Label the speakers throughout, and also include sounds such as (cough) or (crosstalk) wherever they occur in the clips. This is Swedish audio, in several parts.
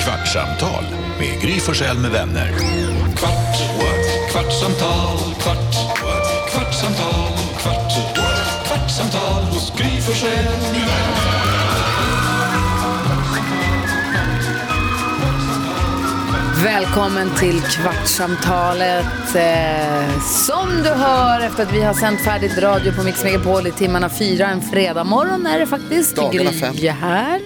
Speaker 1: Kvartsamtal med Gry Forssell med vänner. Kvart, what? kvartsamtal, kvart, what? kvartsamtal, kvart, what? kvartsamtal hos Gry Forssell med vänner.
Speaker 2: Välkommen till Kvartsamtalet. Eh, Som du hör efter att vi har sänt färdigt radio på Mix Megapol i timmarna fyra en fredag morgon är det faktiskt.
Speaker 3: Dagarna
Speaker 2: Gry
Speaker 3: fem.
Speaker 2: är här.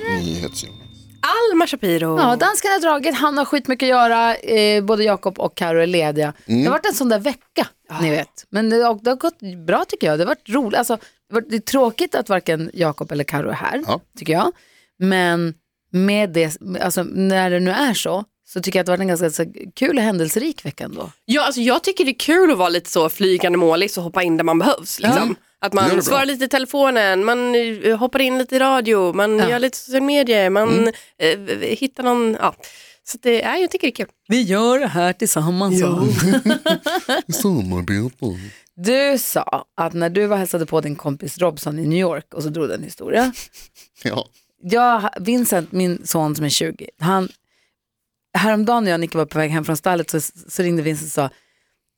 Speaker 4: Alma Shapiro.
Speaker 2: Ja, danskarna har dragit, han har skitmycket att göra, eh, både Jakob och Karo är lediga. Det har varit en sån där vecka, ni vet. Men det, och det har gått bra tycker jag, det har varit roligt. Alltså, det, har varit, det är tråkigt att varken Jakob eller Karo är här,
Speaker 3: Ja.
Speaker 2: tycker jag. Men med det, alltså, när det nu är så, så tycker jag att det har varit en ganska så, kul och händelserik vecka ändå.
Speaker 4: Ja, alltså jag tycker det är kul att vara lite så flygande målis och hoppa in där man behövs. Liksom. Att
Speaker 3: Det gör
Speaker 4: man
Speaker 3: det bra.
Speaker 4: svarar lite i telefonen, man eh, hoppar in lite i radio, man gör lite sociala medier,
Speaker 3: Mm.
Speaker 4: man eh, hittar någon, ja. Så det, ja, jag tycker det är kul.
Speaker 2: Vi gör det här tillsammans.
Speaker 3: Samarbete.
Speaker 2: Du sa att när du var och hälsade på din kompis Robson i New York och så drog du en historia.
Speaker 3: Ja.
Speaker 2: jag, Vincent, min son som är 20, han, häromdagen när jag och Nicky var på väg hem från stallet så, så ringde Vincent och sa,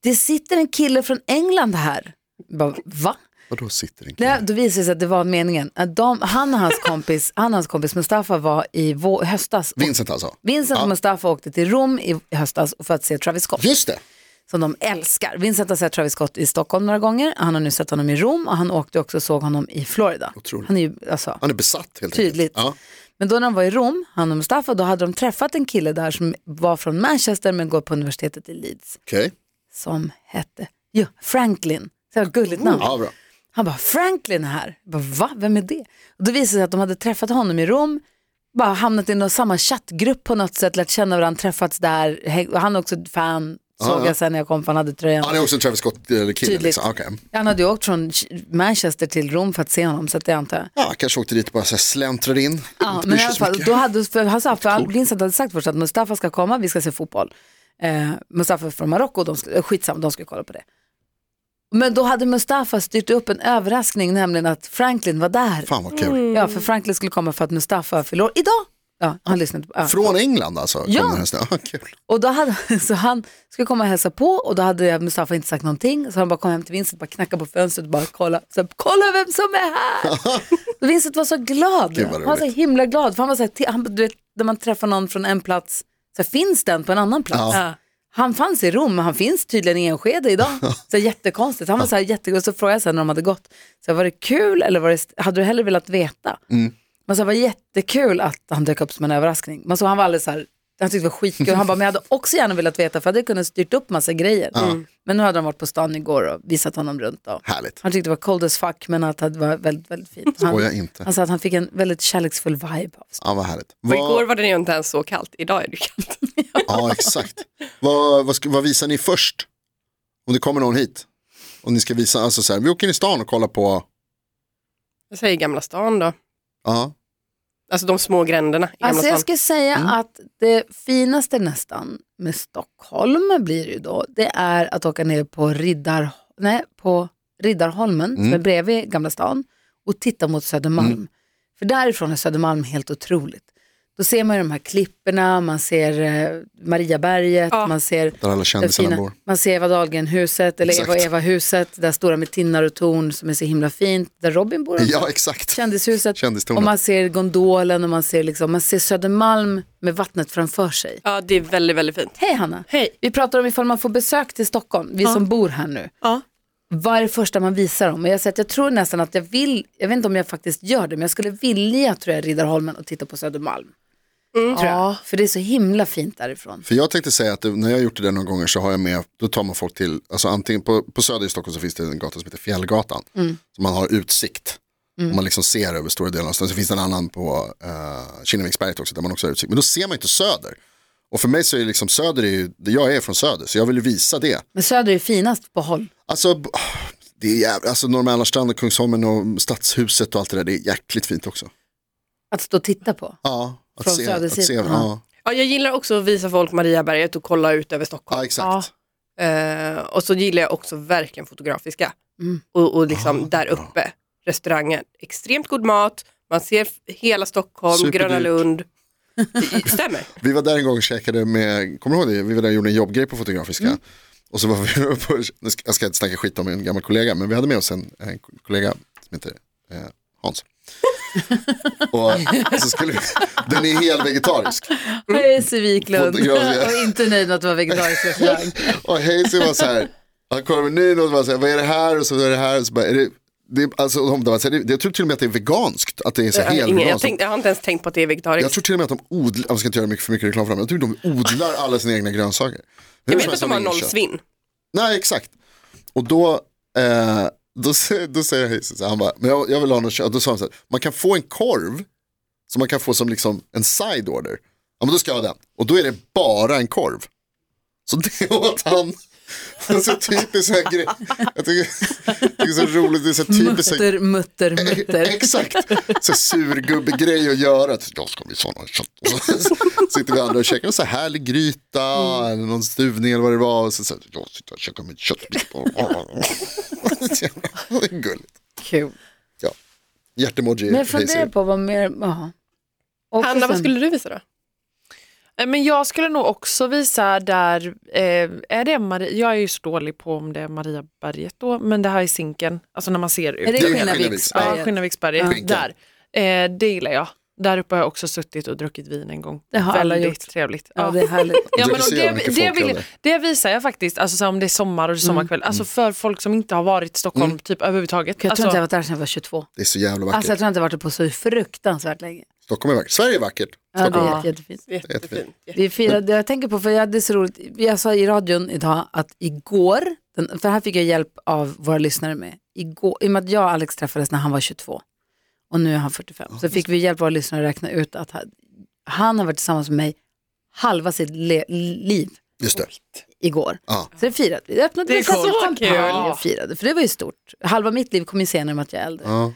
Speaker 2: det sitter en kille från England här. Jag Bara, Va?
Speaker 3: Vadå sitter en
Speaker 2: Det,
Speaker 3: kille?
Speaker 2: då visade det sig att det var meningen. Att de, han, och hans kompis, (laughs) han och hans kompis Mustafa var i vå, höstas. Och
Speaker 3: Vincent alltså?
Speaker 2: Vincent och
Speaker 3: Ja.
Speaker 2: Mustafa åkte till Rom i höstas för att se Travis Scott
Speaker 3: Just det!
Speaker 2: som de älskar. Vincent har sett Travis Scott i Stockholm några gånger, han har nu sett honom i Rom och han åkte också och såg honom i Florida.
Speaker 3: Otroligt.
Speaker 2: Han är ju, alltså,
Speaker 3: Han är besatt helt
Speaker 2: Tydligt.
Speaker 3: enkelt. Ja.
Speaker 2: Men då när de var i Rom, han och Mustafa, då hade de träffat en kille där som var från Manchester men går på universitetet i Leeds
Speaker 3: Okej,
Speaker 2: som hette ja, Franklin. Så jävla gulligt namn.
Speaker 3: ja, bra.
Speaker 2: Han bara, Franklin är här. Jag bara, Va? Vem är det? Och då visade det sig att de hade träffat honom i Rom, bara hamnat i någon samma chattgrupp på något sätt, lärt känna varandra, träffats där. Häng- Han är också ett fan, såg
Speaker 3: ja.
Speaker 2: jag sen när jag kom för han hade tröjan.
Speaker 3: Han är också en Travis Scott-kille.
Speaker 2: Tydligt.
Speaker 3: Liksom. Okej.
Speaker 2: Han hade ju åkt från Manchester till Rom för att se honom, så att det antar jag.
Speaker 3: Ja, kanske åkte dit och bara så här släntrade in.
Speaker 2: Ja,
Speaker 3: Inte bryr
Speaker 2: men i
Speaker 3: sig
Speaker 2: alla
Speaker 3: så
Speaker 2: fall,
Speaker 3: mycket.
Speaker 2: då hade, för han sa, för han, Vincent hade sagt först att Mustafa ska komma, vi ska se fotboll. Eh, Mustafa är från Marocko, de skulle, skitsam, de skulle kolla på det. Men då hade Mustafa styrt upp en överraskning, nämligen att Franklin var där.
Speaker 3: Fan vad kul.
Speaker 2: Ja, för Franklin skulle komma för att Mustafa fyller år idag. Ja, han lyssnade på, ja.
Speaker 3: Från England alltså? kom
Speaker 2: Ja.
Speaker 3: den här snö- Ja, kul.
Speaker 2: Och då hade, (laughs) så han skulle komma och hälsa på och då hade Mustafa inte sagt någonting. Så han bara kom hem till Vincent, bara knackade på fönstret och bara kolla, så här, kolla vem som är här.
Speaker 3: (laughs)
Speaker 2: Och Vincent var så glad,
Speaker 3: Gud, vad
Speaker 2: han var så
Speaker 3: roligt.
Speaker 2: himla glad. För han var så här, till- han, du vet, när man träffar någon från en plats, så här, finns den på en annan plats.
Speaker 3: Ja.
Speaker 2: Han fanns i Rom, men han finns tydligen i Enskede idag. Så här, jättekonstigt. Han var så här jättegod, så frågade jag sen när de hade gått, så här, var det kul eller var det, hade du hellre velat veta? Man sa, det var jättekul att han dök upp som en överraskning. Man sa, han var alldeles så här, han tyckte det var skitkul. Han bara, men jag hade också gärna velat veta för jag hade kunnat styrt upp massa grejer. Men nu hade han varit på stan igår och visat honom runt. Och
Speaker 3: Härligt.
Speaker 2: han tyckte det var cold as fuck men att det var väldigt, väldigt fint. Han,
Speaker 3: Skoja inte.
Speaker 2: han sa att han fick en väldigt kärleksfull vibe av
Speaker 3: Ja, vad härligt.
Speaker 4: Och igår
Speaker 3: Vad,
Speaker 4: var det ju inte ens så kallt, idag är det ju kallt.
Speaker 3: ja, exakt. Vad, vad, ska- vad visar ni först? Om det kommer någon hit? Om ni ska visa, alltså så här, vi åker in i stan och kollar på,
Speaker 4: Jag säger Gamla stan då,
Speaker 3: ja,
Speaker 4: alltså de små gränderna i Gamla
Speaker 2: Alltså jag
Speaker 4: stan.
Speaker 2: skulle säga
Speaker 3: Mm.
Speaker 2: att det finaste nästan med Stockholm blir det ju då, det är att åka ner på, Riddar, nej, på Riddarholmen som är
Speaker 3: Mm.
Speaker 2: bredvid Gamla stan och titta mot Södermalm. För därifrån är Södermalm helt otroligt. Då ser man ju de här klipporna, man ser eh, Mariaberget,
Speaker 4: Ja.
Speaker 2: man ser
Speaker 3: där alla
Speaker 2: det
Speaker 3: kändisarna
Speaker 2: fina.
Speaker 3: bor.
Speaker 2: Man ser Eva Dahlgren-huset eller Eva och
Speaker 3: Exakt.
Speaker 2: Eva-huset, det där stora med tinnar och torn som är så himla fint, där Robin bor. också.
Speaker 3: Ja, exakt.
Speaker 2: Kändishuset.
Speaker 3: Kändistornet.
Speaker 2: Och man ser gondolen och man ser, liksom, man ser Södermalm med vattnet framför sig.
Speaker 4: Ja, det är väldigt, väldigt fint.
Speaker 2: Hej Hanna!
Speaker 4: Hej.
Speaker 2: Vi pratar om ifall man får besök till Stockholm, vi som bor här nu.
Speaker 4: Ja.
Speaker 2: Vad är det första man visar dem? Och Jag, säger att jag tror nästan att jag vill, jag vet inte om jag faktiskt gör det, men jag skulle vilja tror jag Riddarholmen och titta på Södermalm. Mm, Tror jag. För det är så himla fint därifrån.
Speaker 3: För jag tänkte säga att det, när jag har gjort det där några gånger så har jag med, då tar man folk till, alltså antingen på, på Söder i Stockholm så finns det en gata som heter Fjällgatan.
Speaker 2: Mm.
Speaker 3: Så man har utsikt. Och man liksom ser över stora delar av stan. Så finns det en annan på eh, Kinneviksberget också där man också har utsikt. Men då ser man inte Söder. Och för mig så är det liksom Söder, är ju, jag är från Söder så jag vill ju visa det.
Speaker 2: Men Söder är finast på håll.
Speaker 3: Alltså, b- det är jävla, alltså Norrmalmsstrand och Kungsholmen och Stadshuset och allt det där, det är jäkligt fint också.
Speaker 2: Att stå och titta på.
Speaker 3: Ja, att
Speaker 2: Från
Speaker 3: se, att
Speaker 2: södersidan,
Speaker 3: se
Speaker 2: ja.
Speaker 3: ja.
Speaker 4: Ja, jag gillar också att visa folk Mariaberget och kolla ut över Stockholm.
Speaker 3: ja, exakt.
Speaker 4: Eh, och så gillar jag också verkligen fotografiska.
Speaker 3: Mm.
Speaker 4: Och, och
Speaker 3: Ah,
Speaker 4: liksom där uppe, restauranger, extremt god mat, man ser f- hela Stockholm,
Speaker 3: Superdyrt.
Speaker 4: Gröna Lund.
Speaker 3: (laughs)
Speaker 4: Stämmer.
Speaker 3: Vi var där en gång och käkade med, kommer du ihåg det? Vi var där och gjorde en jobbgrej på Fotografiska.
Speaker 4: Mm.
Speaker 3: Och så var vi (laughs) uppe, och- nu ska- jag ska inte snacka skit om en gammal kollega, men vi hade med oss en, en kollega som heter eh,
Speaker 4: (laughs)
Speaker 3: Hans. och så skulle vi, den är helt vegetarisk.
Speaker 2: Hayesy Wiklund
Speaker 3: Fotograf,
Speaker 2: (laughs)
Speaker 3: ja.
Speaker 2: och inte nöjd med att det var vegetariskt restaurang.
Speaker 3: Och Hazy var så här, han kom med menyn och så var så här, vad är det här? Och så är det här, och så bara, är det, det, alltså, de, de, var så här, det- jag tror till och med att det är veganskt, att det är så här,
Speaker 4: Jag,
Speaker 3: helt
Speaker 4: ingen, Äh, jag,
Speaker 3: veganskt.
Speaker 4: tänkte, jag har inte ens tänkt på att det är
Speaker 3: Jag
Speaker 4: vegetariskt.
Speaker 3: tror till och med att de odlar, jag ska inte göra mycket för mycket reklam för dem, jag tror de odlar alla sina egna grönsaker. Hur
Speaker 4: Jag
Speaker 3: som
Speaker 4: vet att
Speaker 3: helst
Speaker 4: de har
Speaker 3: inget
Speaker 4: noll
Speaker 3: kött.
Speaker 4: svinn.
Speaker 3: Nej, exakt. Och då, eh, då, sä- då säger Hayes så här, han bara, men jag, jag vill ha något kött. Då sa han så här, man kan få en korv som man kan få som liksom en side order. Ja, men då ska jag ha den. Och då är det bara en korv. Så det åt han. Det är så typiskt så här grej. Jag tycker, det är så roligt, det är så typiskt. så här-
Speaker 2: Mutter, mutter,
Speaker 3: (laughs)
Speaker 2: mutter.
Speaker 3: Exakt, så surgubbe-grej att göra. Så, Då ska vi sådana kött. Och så- så sitter vi andra och käkar en så här härlig gryta
Speaker 2: Mm.
Speaker 3: eller någon stuvning eller vad det var. Och så, så här, jag sitter och käkar min köttbit. Så jävla Gulligt.
Speaker 2: Kul.
Speaker 3: Ja. Hjärtemoji.
Speaker 2: Men jag
Speaker 3: hej,
Speaker 2: funderar
Speaker 3: säger.
Speaker 2: på vad mer, ja. Och
Speaker 4: Hanna, vad
Speaker 2: sen-
Speaker 4: skulle du visa då?
Speaker 5: Eh, Men jag skulle nog också visa där, eh, är det Maria, jag är ju så dålig på om det är Maria berget då, men det här är Zinken, alltså när man ser ut.
Speaker 2: Är det
Speaker 3: Det är
Speaker 2: Kinnaviksberget?
Speaker 5: Ja, Kinnaviksberget,
Speaker 3: Ja.
Speaker 5: där. Eh, det gillar jag. Där uppe har jag också suttit och druckit vin en gång.
Speaker 2: Det har alla
Speaker 5: Väldigt
Speaker 2: gjort.
Speaker 5: trevligt.
Speaker 2: Ja, det är härligt.
Speaker 5: Ja,
Speaker 3: Du
Speaker 5: men och
Speaker 3: ser hur
Speaker 5: det,
Speaker 3: mycket
Speaker 5: det,
Speaker 3: folk
Speaker 5: vill,
Speaker 3: gör
Speaker 5: det visar jag faktiskt, alltså, så här, om det är sommar
Speaker 2: Mm.
Speaker 5: och det är sommarkväll, alltså för folk som inte har varit i Stockholm
Speaker 3: Mm.
Speaker 5: typ överhuvudtaget.
Speaker 2: Jag tror inte jag
Speaker 5: Alltså,
Speaker 2: har varit där sedan jag var 22.
Speaker 3: Det är så jävla vackert.
Speaker 2: Alltså jag tror inte jag har varit på så fruktansvärt länge.
Speaker 3: Stockholm är vackert. Sverige är vackert.
Speaker 2: Ja, det är
Speaker 5: Ja.
Speaker 2: jätte- jättefint.
Speaker 4: Jättefint.
Speaker 2: Vi firade, jag tänker på, för jag hade så roligt, jag sa i radion idag att igår, den, för här fick jag hjälp av våra lyssnare med, igår, i och med att jag och Alex träffades när han var 22 och nu är han 45, så fick vi hjälp av våra lyssnare att räkna ut att han, han har varit tillsammans med mig halva sitt le, liv
Speaker 3: Just det.
Speaker 2: igår.
Speaker 3: Ja.
Speaker 2: Så det firade vi, det öppnade
Speaker 4: Det
Speaker 2: vi
Speaker 4: är
Speaker 2: en flaska
Speaker 4: coolt.
Speaker 2: champagne
Speaker 5: Kul.
Speaker 2: och firade, för det var ju stort. Halva mitt liv kom ju senare med att jag är äldre.
Speaker 3: Ja.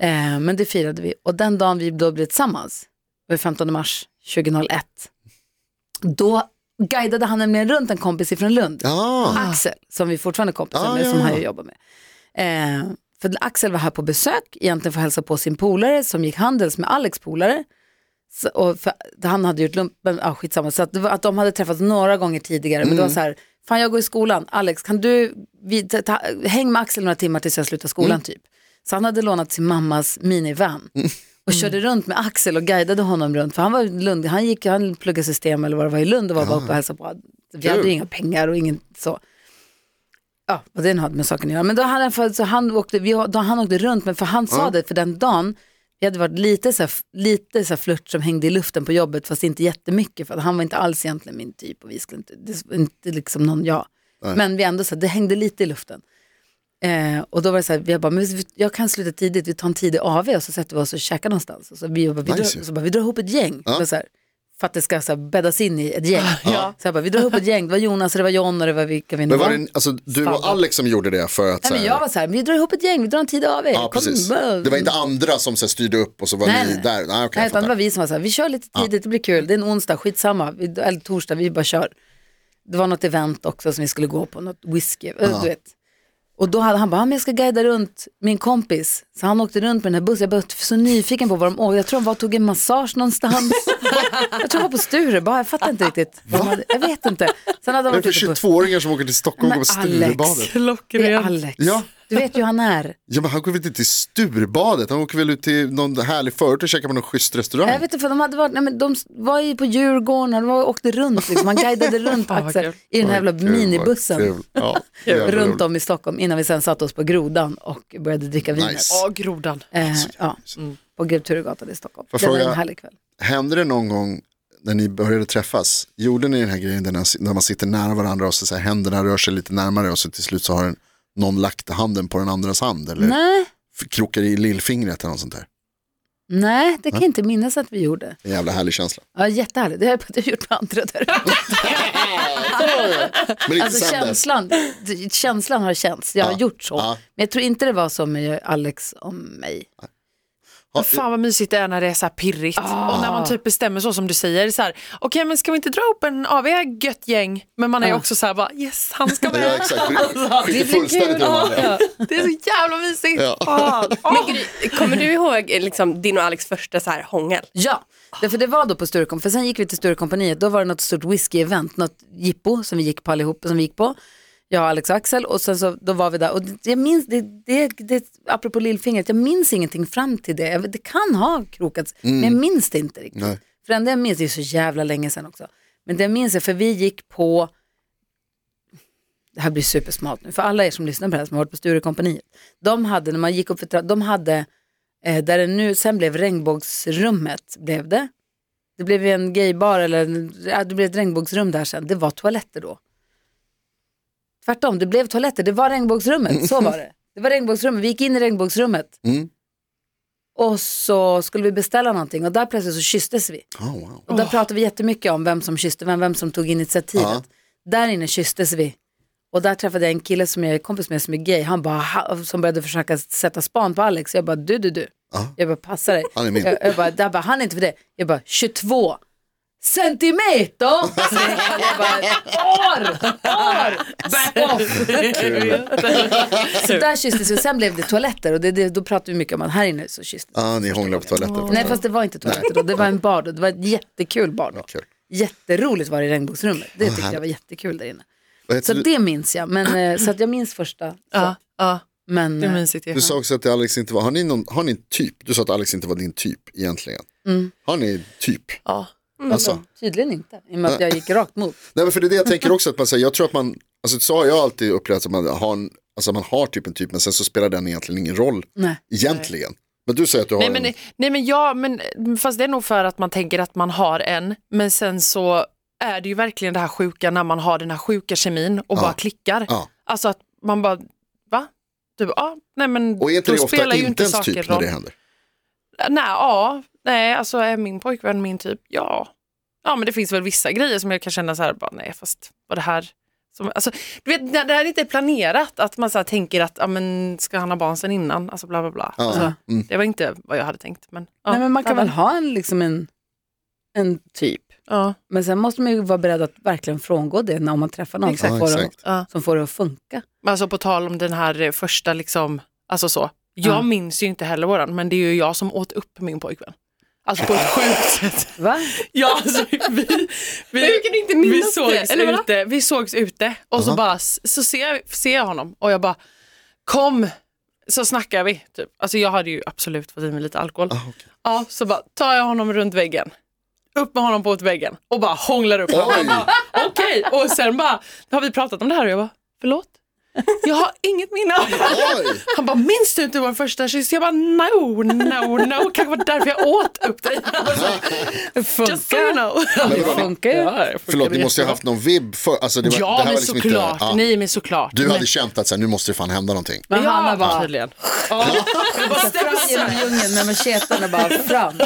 Speaker 2: Eh, men det firade vi. Och den dagen vi då blev tillsammans, det var 15 mars 2001, då guidade han nämligen runt en kompis ifrån Lund,
Speaker 3: Ja.
Speaker 2: Axel, som vi fortfarande är kompisar
Speaker 3: Ah,
Speaker 2: med,
Speaker 3: ja,
Speaker 2: som han
Speaker 3: ja.
Speaker 2: ju jobbar med. Eh, för Axel var här på besök, egentligen för att hälsa på sin polare som gick handels med Alex polare. Så, och för, han hade gjort lumpen, ah, skitsamma, så att, det var, att de hade träffats några gånger tidigare, men det var
Speaker 3: Mm.
Speaker 2: så här, fan jag går i skolan, Alex kan du, vi, ta, ta, häng med Axel några timmar tills jag slutar
Speaker 3: Mm.
Speaker 2: skolan typ. Så han hade lånat sin mammas minivan och körde runt med Axel och guidade honom runt, för han var i Lund, han gick, han pluggade system eller vad det var i Lund och var bara uppe och hälsade på. Vi hade ju inga pengar och ingen så. Ja, och det hade med saken att göra. Men då hade han, för, så han, åkte, vi, då han åkte runt, men för han sa det, för den dagen, vi hade varit lite så här, lite så här flört som hängde i luften på jobbet, fast inte jättemycket, för att han var inte alls egentligen min typ och vi skulle inte, det var inte liksom någon jag. Men vi ändå så här, det hängde lite i luften. Eh, och då var det så här, vi bara, men vi- jag kan sluta tidigt, vi tar en tidig AV och så sätter vi oss och käkar någonstans. Och så, vi, bara, vi,
Speaker 3: Nice.
Speaker 2: drar, så bara, vi drar ihop ett gäng. Men Så här, för att det ska så här, bäddas in i ett gäng. Så jag bara, vi drar ihop ett gäng, det var Jonas, och det var John och det var vilka vi nu
Speaker 3: Men var det, alltså, du och Alex som gjorde det för att
Speaker 2: Nej, men
Speaker 3: så
Speaker 2: jag
Speaker 3: här,
Speaker 2: var så här, vi drar ihop ett gäng, vi drar en tid av er.
Speaker 3: Ja, precis. Det var inte andra som så här, styrde upp och så var
Speaker 2: Nej,
Speaker 3: ni
Speaker 2: nej.
Speaker 3: där. Nej, okej.
Speaker 2: Nej,
Speaker 3: jag
Speaker 2: utan det var
Speaker 3: fattar.
Speaker 2: vi som var så här, vi kör lite tidigt, det blir kul, det är en onsdag, skitsamma, vi, eller torsdag, vi bara kör. Det var något event också som vi skulle gå på, något whisky, ö, du vet. Och då hade han bara, "Ah, men jag ska guida runt min kompis. Så han åkte runt med den här bussen, jag var så nyfiken på var de åkte. Jag tror de var och tog en massage
Speaker 3: (laughs)
Speaker 2: någonstans. jag tror de var på Sture, bara, jag fattar inte riktigt. De hade, jag vet inte. Sen hade de
Speaker 3: Är det
Speaker 2: varit
Speaker 3: för
Speaker 2: ute på,
Speaker 3: 22-åringar som åker till Stockholm och
Speaker 2: typ. Men
Speaker 3: går på
Speaker 2: Alex.
Speaker 3: Sturebadet?
Speaker 2: det är
Speaker 5: (laughs) Klockren.
Speaker 2: Alex.
Speaker 3: Ja.
Speaker 2: Du vet ju hur han är.
Speaker 3: Ja, men han går väl inte till Sturbadet, han åker väl ut till någon härlig förort och käkar på någon schysst restaurang.
Speaker 2: Jag vet inte, för de, hade varit, nej, men de var ju på Djurgården och de var, åkte runt, liksom. man
Speaker 5: (laughs)
Speaker 2: guidade runt
Speaker 5: Fan, vad
Speaker 2: Axel
Speaker 5: kul.
Speaker 2: i den här jävla
Speaker 3: Vad kul, vad
Speaker 2: minibussen
Speaker 3: kul.
Speaker 2: (laughs)
Speaker 3: Ja, jävla
Speaker 2: runt
Speaker 3: roligt.
Speaker 2: om i Stockholm innan vi sen satte oss på Grodan och började dricka viner.
Speaker 3: Nice.
Speaker 5: Ja, grodan.
Speaker 2: Eh, ja, på Grev Turegatan i Stockholm.
Speaker 3: Mm. Får
Speaker 2: det var
Speaker 3: fråga-
Speaker 2: en härlig kväll.
Speaker 3: Hände det någon gång när ni började träffas, gjorde ni den här grejen där man s- när man sitter nära varandra och så, så här, händerna rör sig lite närmare och så till slut så har en, någon lagt handen på den andras hand eller
Speaker 2: Nej,
Speaker 3: f- krokar i lillfingret eller något sånt där.
Speaker 2: nej, det kan jag inte minnas att vi gjorde.
Speaker 3: En jävla härlig känsla.
Speaker 2: Ja, jättehärligt, det har jag gjort med andra
Speaker 3: (laughs)
Speaker 2: där.
Speaker 3: Men inte
Speaker 2: Alltså
Speaker 3: sen dess.
Speaker 2: känslan, känslan har känts, jag har
Speaker 3: Ja,
Speaker 2: gjort så.
Speaker 3: ja.
Speaker 2: eh, Men jag tror inte det var så med Alex om mig.
Speaker 3: Ja,
Speaker 5: Fan vad mysigt det är när det är så här pirrigt. Och när man typ bestämmer så som du säger. så här, Okej men ska vi inte dra upp en AV gött gäng? Men man är ju också så här bara yes han
Speaker 3: (laughs)
Speaker 5: ska
Speaker 3: Ja,
Speaker 5: med.
Speaker 2: (laughs)
Speaker 3: exakt.
Speaker 2: Alltså,
Speaker 3: Skiter fullständigt i vad man är.
Speaker 5: det är så jävla mysigt.
Speaker 3: Ja.
Speaker 5: Fan.
Speaker 4: Men Gry, kommer du ihåg eh, liksom, din och Alex första så här hångel?
Speaker 2: Ja, därför det var då på Sturecom, för sen gick vi till Sturecompaniet, då var det något stort whisky-event, något jippo som vi gick på allihop, som vi gick på, jag, Alex och Axel, och sen så då var vi där, och det- jag minns, det, det, det, apropå lillfingret, jag minns ingenting fram till det, Jag- det kan ha krokats, men jag minns det inte riktigt.
Speaker 3: Nej.
Speaker 2: För det enda jag minns, det är så jävla länge sedan också, men det jag minns är, för vi gick på, det här blir supersmart nu, för alla er som lyssnar på det här som har varit på Sturecompaniet, de hade, när man gick upp för tra- de hade Eh, där det nu, sen blev regnbågsrummet, blev det. Det blev ju en gaybar eller en- ja, det blev ett regnbågsrum där sen. Det var toaletter då. Tvärtom, det blev toaletter. Det var regnbågsrummet, så var det. Det var regnbågsrummet, vi gick in i regnbågsrummet.
Speaker 3: Mm.
Speaker 2: Och så skulle vi beställa någonting och där plötsligt så kysstes vi.
Speaker 3: Oh, wow.
Speaker 2: Och där pratade vi jättemycket om vem som kysste vem, vem som tog initiativet.
Speaker 3: Ja.
Speaker 2: Där inne kysstes vi. Och där träffade jag en kille som jag är kompis med som är gay. Han bara, ha, som började försöka sätta span på Alex. Jag bara, du, du, du.
Speaker 3: Ja.
Speaker 2: Jag bara, passa dig.
Speaker 3: Han är min.
Speaker 2: Jag, jag bara, där bara, han är inte för det. Jag bara, 22 centimeter! Alltså, jag bara, år! År! Back off! så där kysstes vi. Och Sen blev det toaletter och det, det, då pratade vi mycket om att här inne så kysstes
Speaker 3: Ah, ni hånglar på toaletten.
Speaker 2: Nej fast det var inte toaletter då, det var en bar då. Det var ett jättekul bar då.
Speaker 3: Kul.
Speaker 2: Jätteroligt var det i regnbågsrummet. Det tyckte jag var
Speaker 3: härligt.
Speaker 2: jättekul där inne.
Speaker 3: Vad heter
Speaker 2: Så
Speaker 3: du?
Speaker 2: det minns jag, men, eh, så att jag minns första. Så.
Speaker 5: Ja, ja,
Speaker 2: Men
Speaker 5: det är
Speaker 2: eh,
Speaker 5: mysigt. ju.
Speaker 3: Du sa också att Alex inte var, har ni, någon, har ni en typ? Du sa att Alex inte var din typ egentligen.
Speaker 5: Mm.
Speaker 3: Har ni typ?
Speaker 5: Ja.
Speaker 3: Alltså,
Speaker 2: tydligen inte, i och med att jag gick rakt mot.
Speaker 3: nej men för det är det jag tänker också, att man säger, jag tror att man, alltså så har jag alltid upplevt att man har, en, alltså man har typ en typ, men sen så spelar den egentligen ingen roll
Speaker 2: Nej.
Speaker 3: egentligen. Men du säger att du har
Speaker 5: Nej men,
Speaker 3: en,
Speaker 5: nej men ja, men fast det är nog för att man tänker att man har en, men sen så är det ju verkligen det här sjuka när man har den här sjuka kemin och bara klickar.
Speaker 3: Ja.
Speaker 5: Alltså att man bara, va? Typ, ja, nej men
Speaker 3: och är inte
Speaker 5: då
Speaker 3: det ofta
Speaker 5: spelar ju
Speaker 3: inte ens
Speaker 5: saker
Speaker 3: typ när
Speaker 5: roll.
Speaker 3: det händer?
Speaker 5: Nej, ja, nej, alltså är min pojkvän min typ? Ja. Ja, men det finns väl vissa grejer som jag kan känna så här, bara, nej, fast vad det här... Som, alltså, du vet, när det här inte är planerat, att man så här tänker att, ja men ska han ha barn sen innan? Alltså bla bla bla.
Speaker 3: Ja.
Speaker 5: Alltså,
Speaker 3: Mm.
Speaker 5: Det var inte vad jag hade tänkt, men... Ja,
Speaker 2: Nej men man kan
Speaker 5: ja,
Speaker 2: väl ha en, liksom en, en typ.
Speaker 5: Ja,
Speaker 2: Men sen måste man ju vara beredd att verkligen frångå det när man träffar någon som,
Speaker 3: Ja,
Speaker 2: får det,
Speaker 3: exakt.
Speaker 5: ja.
Speaker 2: som får det att funka.
Speaker 5: Men alltså på tal om den här eh, första liksom, alltså så. Jag
Speaker 2: Ja.
Speaker 5: minns ju inte heller våran, men det är ju jag som åt upp min pojkvän. Alltså på ett sjukt sätt.
Speaker 2: Va?
Speaker 5: (laughs) Ja, alltså, vi, vi,
Speaker 4: Hur kan du inte
Speaker 5: vi
Speaker 4: minnas
Speaker 5: sågs
Speaker 4: det? Eller vad?
Speaker 5: ute, vi sågs ute och så,
Speaker 3: Aha.
Speaker 5: bara, så ser, jag, ser jag honom och jag bara kom så snackar vi. Typ. Alltså jag hade ju absolut fått i mig lite alkohol. Ja, så bara tar jag honom runt väggen, upp med honom på väggen och bara hånglar upp honom.
Speaker 3: Oj.
Speaker 5: Jag bara, Okej, och sen bara har vi pratat om det här och jag bara förlåt. Jag har inget minne av det.
Speaker 3: Oj,
Speaker 5: Han bara, minns du inte vår första kyss? Jag bara, no, no, no. Kanske var det därför jag åt upp (laughs) dig. Alltså, just so you know.
Speaker 3: men det
Speaker 2: Det
Speaker 3: var,
Speaker 2: funkar ju.
Speaker 3: förlåt, ni måste ju ha haft någon vibb för, alltså det var, det
Speaker 5: Ja,
Speaker 3: här
Speaker 5: men
Speaker 3: var liksom
Speaker 5: såklart.
Speaker 3: inte, ja.
Speaker 5: Nej, men såklart.
Speaker 3: Du
Speaker 5: Men-
Speaker 3: hade känt att så här, nu måste det fan hända någonting.
Speaker 2: Men
Speaker 5: ja,
Speaker 2: Hanna bara,
Speaker 5: tydligen.
Speaker 2: fram genom djungeln med macheten och bara fram.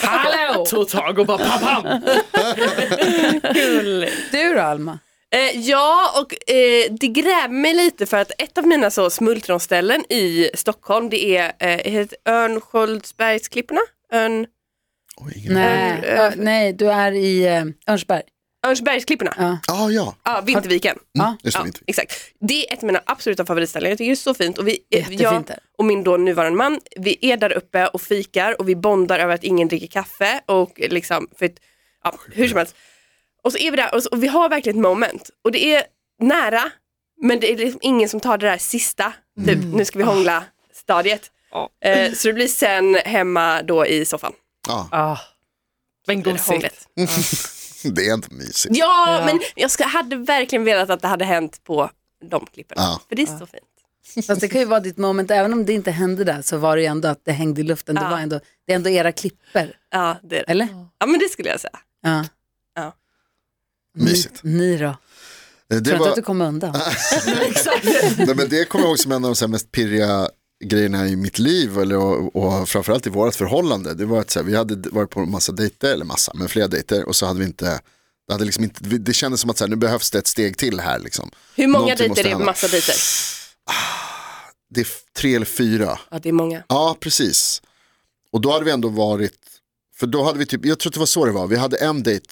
Speaker 2: Hallå!
Speaker 5: Tog tag och bara pam, pam.
Speaker 2: Du då Alma?
Speaker 4: Eh, ja, och eh, det gräver mig lite för att ett av mina så smultronställen i Stockholm det är eh, heter Örnsköldsbergsklipporna. Örn,
Speaker 3: Oj, ingen
Speaker 2: Nej, ö, nej du är i eh, Örnsberg.
Speaker 4: Örnsbergsklipporna, ja,
Speaker 3: Ah, ja,
Speaker 4: ah, Vinterviken.
Speaker 2: Ja.
Speaker 3: just det.
Speaker 4: Ja,
Speaker 3: inte.
Speaker 4: exakt. Det är ett av mina absoluta favoritställen. Jag tycker det är så fint. Och vi, eh,
Speaker 2: Jättefint
Speaker 4: jag
Speaker 2: där.
Speaker 4: och min då nuvarande man, vi är där uppe och fikar och vi bondar över att ingen dricker kaffe och eh, liksom, för att, ja, hur som helst. Och så är vi där och, så, och vi har verkligen ett moment. Och det är nära, men det är liksom ingen som tar det där sista, typ nu ska vi hångla stadiet. Eh, så det blir sen hemma då i soffan.
Speaker 3: Ja,
Speaker 5: Ah, men
Speaker 4: Blir det
Speaker 5: gosigt.
Speaker 4: hånglet.
Speaker 3: det är inte mysigt.
Speaker 4: Ja,
Speaker 5: Ja.
Speaker 4: men jag ska, hade verkligen velat att det hade hänt på de klipporna.
Speaker 3: Ja.
Speaker 4: För det är så fint.
Speaker 2: Fast det kan ju vara ditt moment, även om det inte hände där så var det ju ändå att det hängde i luften. Det,
Speaker 4: Ja.
Speaker 2: var ändå, det är ändå era klipper,
Speaker 4: Ja, det är det.
Speaker 2: eller?
Speaker 4: Ja, men det skulle jag säga.
Speaker 2: Ja.
Speaker 4: Ja.
Speaker 3: Mysigt.
Speaker 2: Ni, ni då?
Speaker 3: Eh,
Speaker 2: Tror
Speaker 3: Det,
Speaker 2: inte
Speaker 3: var,
Speaker 2: att du kommer undan?
Speaker 3: nej, men det kommer jag ihåg som en av de så här mest pirriga grejerna i mitt liv eller, och, och framförallt i vårt förhållande. Det var att så här, vi hade varit på massa dejter, eller massa, men flera dejter och så hade vi inte, det, hade liksom inte, vi- det kändes som att så här, nu behövs det ett steg till här liksom.
Speaker 4: Hur många
Speaker 3: Någonting måste
Speaker 4: dejter är det?
Speaker 3: hända.
Speaker 4: Massa dejter?
Speaker 3: Det är f- tre eller fyra.
Speaker 4: Ja, det är många.
Speaker 3: Ja, precis. Och då hade vi ändå varit, för då hade vi typ, jag tror att det var så det var, vi hade en dejt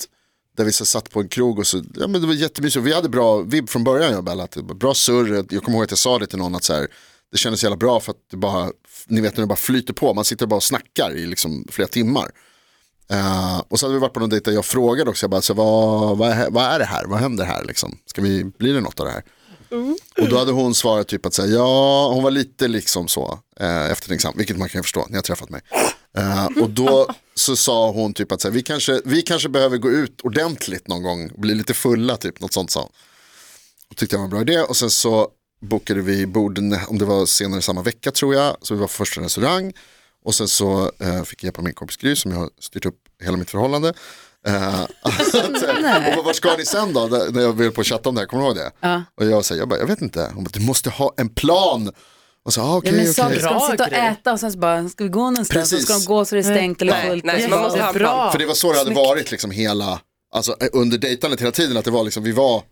Speaker 3: där vi så satt på en krog och så, ja men det var jättemysigt, vi hade bra vibb från början jag och Bella, att det var bra surr, jag kommer ihåg att jag sa det till någon att så här, det kändes jävla bra för att det bara, ni vet när det bara flyter på, man sitter bara och snackar i liksom flera timmar. Eh, och så hade vi varit på någon dejt där jag frågade också, jag bara, så här, vad, vad, är, vad är det här, vad händer här liksom, ska vi, blir det något av det här? Och då hade hon svarat typ att säga, ja, hon var lite liksom så eh, eftertänksam, vilket man kan förstå, ni har träffat mig. Eh, och då så sa hon typ att så här, vi, kanske, vi kanske behöver gå ut ordentligt någon gång, bli lite fulla typ, något sånt sa hon. Och tyckte jag var en bra idé och sen så bokade vi bord, om det var senare samma vecka tror jag, så vi var på första restaurang. Och sen så eh, fick jag hjälp av min kompis Gry som jag har styrt upp hela mitt förhållande. Eh, (laughs) att, eh, och vad- vart ska ni sen då? Där- När jag var på att chatta om det här, kommer du ihåg det? Och jag säger, jag, bara, jag vet inte, hon bara, du måste ha en plan. Och så, ah,
Speaker 2: Ja,
Speaker 3: okej,
Speaker 2: men
Speaker 3: okej.
Speaker 2: sa vi, ska de
Speaker 5: Bra
Speaker 2: sitta och
Speaker 5: grej.
Speaker 2: äta och sen så bara, ska vi gå någonstans? Och
Speaker 3: Precis.
Speaker 2: ska de gå så det är stängt eller
Speaker 4: Nej,
Speaker 2: fullt?
Speaker 4: nej,
Speaker 2: Och så
Speaker 4: man
Speaker 2: bara-
Speaker 4: måste ha en plan.
Speaker 5: Bra.
Speaker 3: För det var så det hade varit liksom hela, alltså eh, under dejtandet hela tiden, att det var liksom, vi var,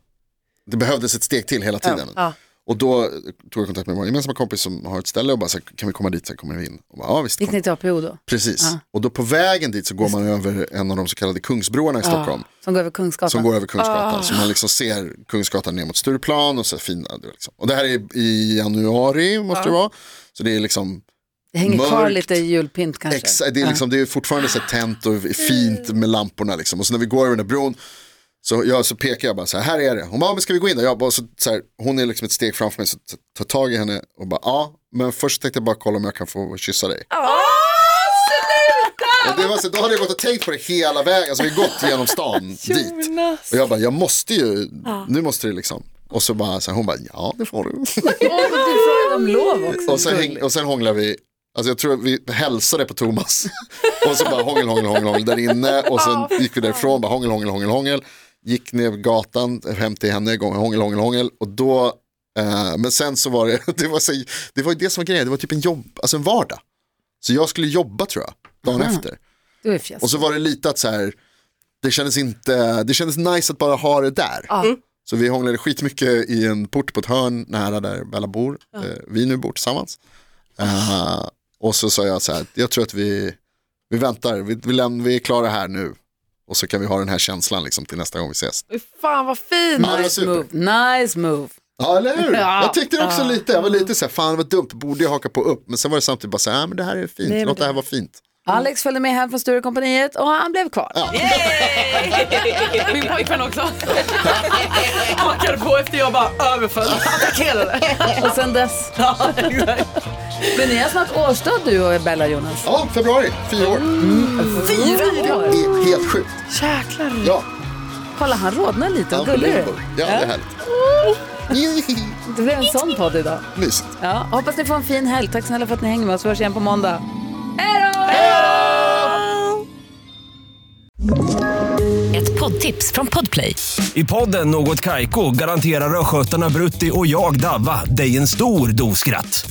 Speaker 3: det behövdes ett steg till hela tiden.
Speaker 5: Ja.
Speaker 3: Och då tog jag kontakt med vår gemensamma kompis som har ett ställe och bara, så här, kan vi komma dit, sen kommer vi in. Och bara, ja visst,
Speaker 2: Gick
Speaker 3: kom.
Speaker 2: ni till APO då?
Speaker 3: precis. Och då på vägen dit så går man över en av de så kallade Kungsbroarna i Stockholm.
Speaker 2: Som går över Kungsgatan?
Speaker 3: Som går över Kungsgatan,
Speaker 5: Ah.
Speaker 3: så man liksom ser Kungsgatan ner mot Stureplan och så fina. det var Liksom. Och det här är i januari, måste det vara. Så det är liksom
Speaker 2: det hänger kvar
Speaker 3: mörkt.
Speaker 2: lite julpynt kanske?
Speaker 3: Exa, det, är liksom, det är fortfarande så här tänt och fint med lamporna. Liksom. Och så när vi går över den där bron så, jag, så pekar jag bara så här, här är det. Hon bara, "Ja, men ska vi gå in där? Jag bara, så, så här, hon är liksom ett steg framför mig så t- tar tag i henne och bara, ja, men först tänkte jag bara kolla om jag kan få kyssa dig. Och det var så, då hade jag gått och tänkt på det hela vägen, alltså vi har gått genom stan dit. Och jag bara, jag måste ju, nu måste det liksom. Och så bara, så här, hon bara, ja det får du.
Speaker 2: Åh, och du frågade om lov också.
Speaker 3: Och sen, häng, och sen hånglade vi, alltså jag tror att vi hälsade på Thomas. (laughs) och så bara hångel, hångel, hångel, hångel där inne. Och sen gick vi därifrån, bara hångel, hångel, hångel, hångel. Gick ner gatan hem till henne, gång- hångel, hångel, hångel. Och då, eh, men sen så var det, det (laughs) var, så, det var ju det som var grejen, det var typ en jobb, alltså en vardag. Så jag skulle jobba tror jag, dagen efter.
Speaker 2: Du är fjäsk.
Speaker 3: Och så var det lite att så här, det kändes inte, det kändes nice att bara ha det där. Så vi hånglade skitmycket i en port på ett hörn nära där Bella bor, eh, vi nu bor tillsammans. Eh, och så sa jag så här, jag tror att vi, vi väntar, vi, vi, läm- vi är klara här nu. Och så kan vi ha den här känslan liksom till nästa gång vi ses.
Speaker 5: Fy Fan vad fin.
Speaker 3: Ja, det var
Speaker 2: Nice
Speaker 3: super.
Speaker 2: move. Nice move.
Speaker 3: Ja, eller hur?
Speaker 2: Ja.
Speaker 3: Jag tyckte det också lite, jag var lite så här, fan vad dumt, borde jag haka på upp? Men sen var det samtidigt bara så här, "Ah, men det här är fint, låt det här vara fint.
Speaker 2: Alex följde med hem från Sturecompagniet och han blev kvar.
Speaker 5: Min pojkvän också. (laughs) Hakade på efter jag bara överföll. Attackerade.
Speaker 2: Och sen
Speaker 4: (laughs)
Speaker 2: dess. Men ni har snart årsdag du och Bella Jonas.
Speaker 3: Ja, februari, fyra år.
Speaker 2: Fyra år.
Speaker 3: Det är helt sjukt.
Speaker 5: Jäklar.
Speaker 3: Ja.
Speaker 2: Kolla han rodnar lite, vad gullig du är.
Speaker 3: Ja, det är härligt.
Speaker 2: Det blev en sån podd idag.
Speaker 3: Mysigt.
Speaker 2: Ja, hoppas ni får en fin helg. Tack snälla för att ni hänger med oss. Vi hörs igen på måndag. Hej då!
Speaker 6: Ett poddtips från Podplay.
Speaker 7: I podden Något Kaiko garanterar östgötarna Brutti och jag, Davva, dig en stor dos skratt.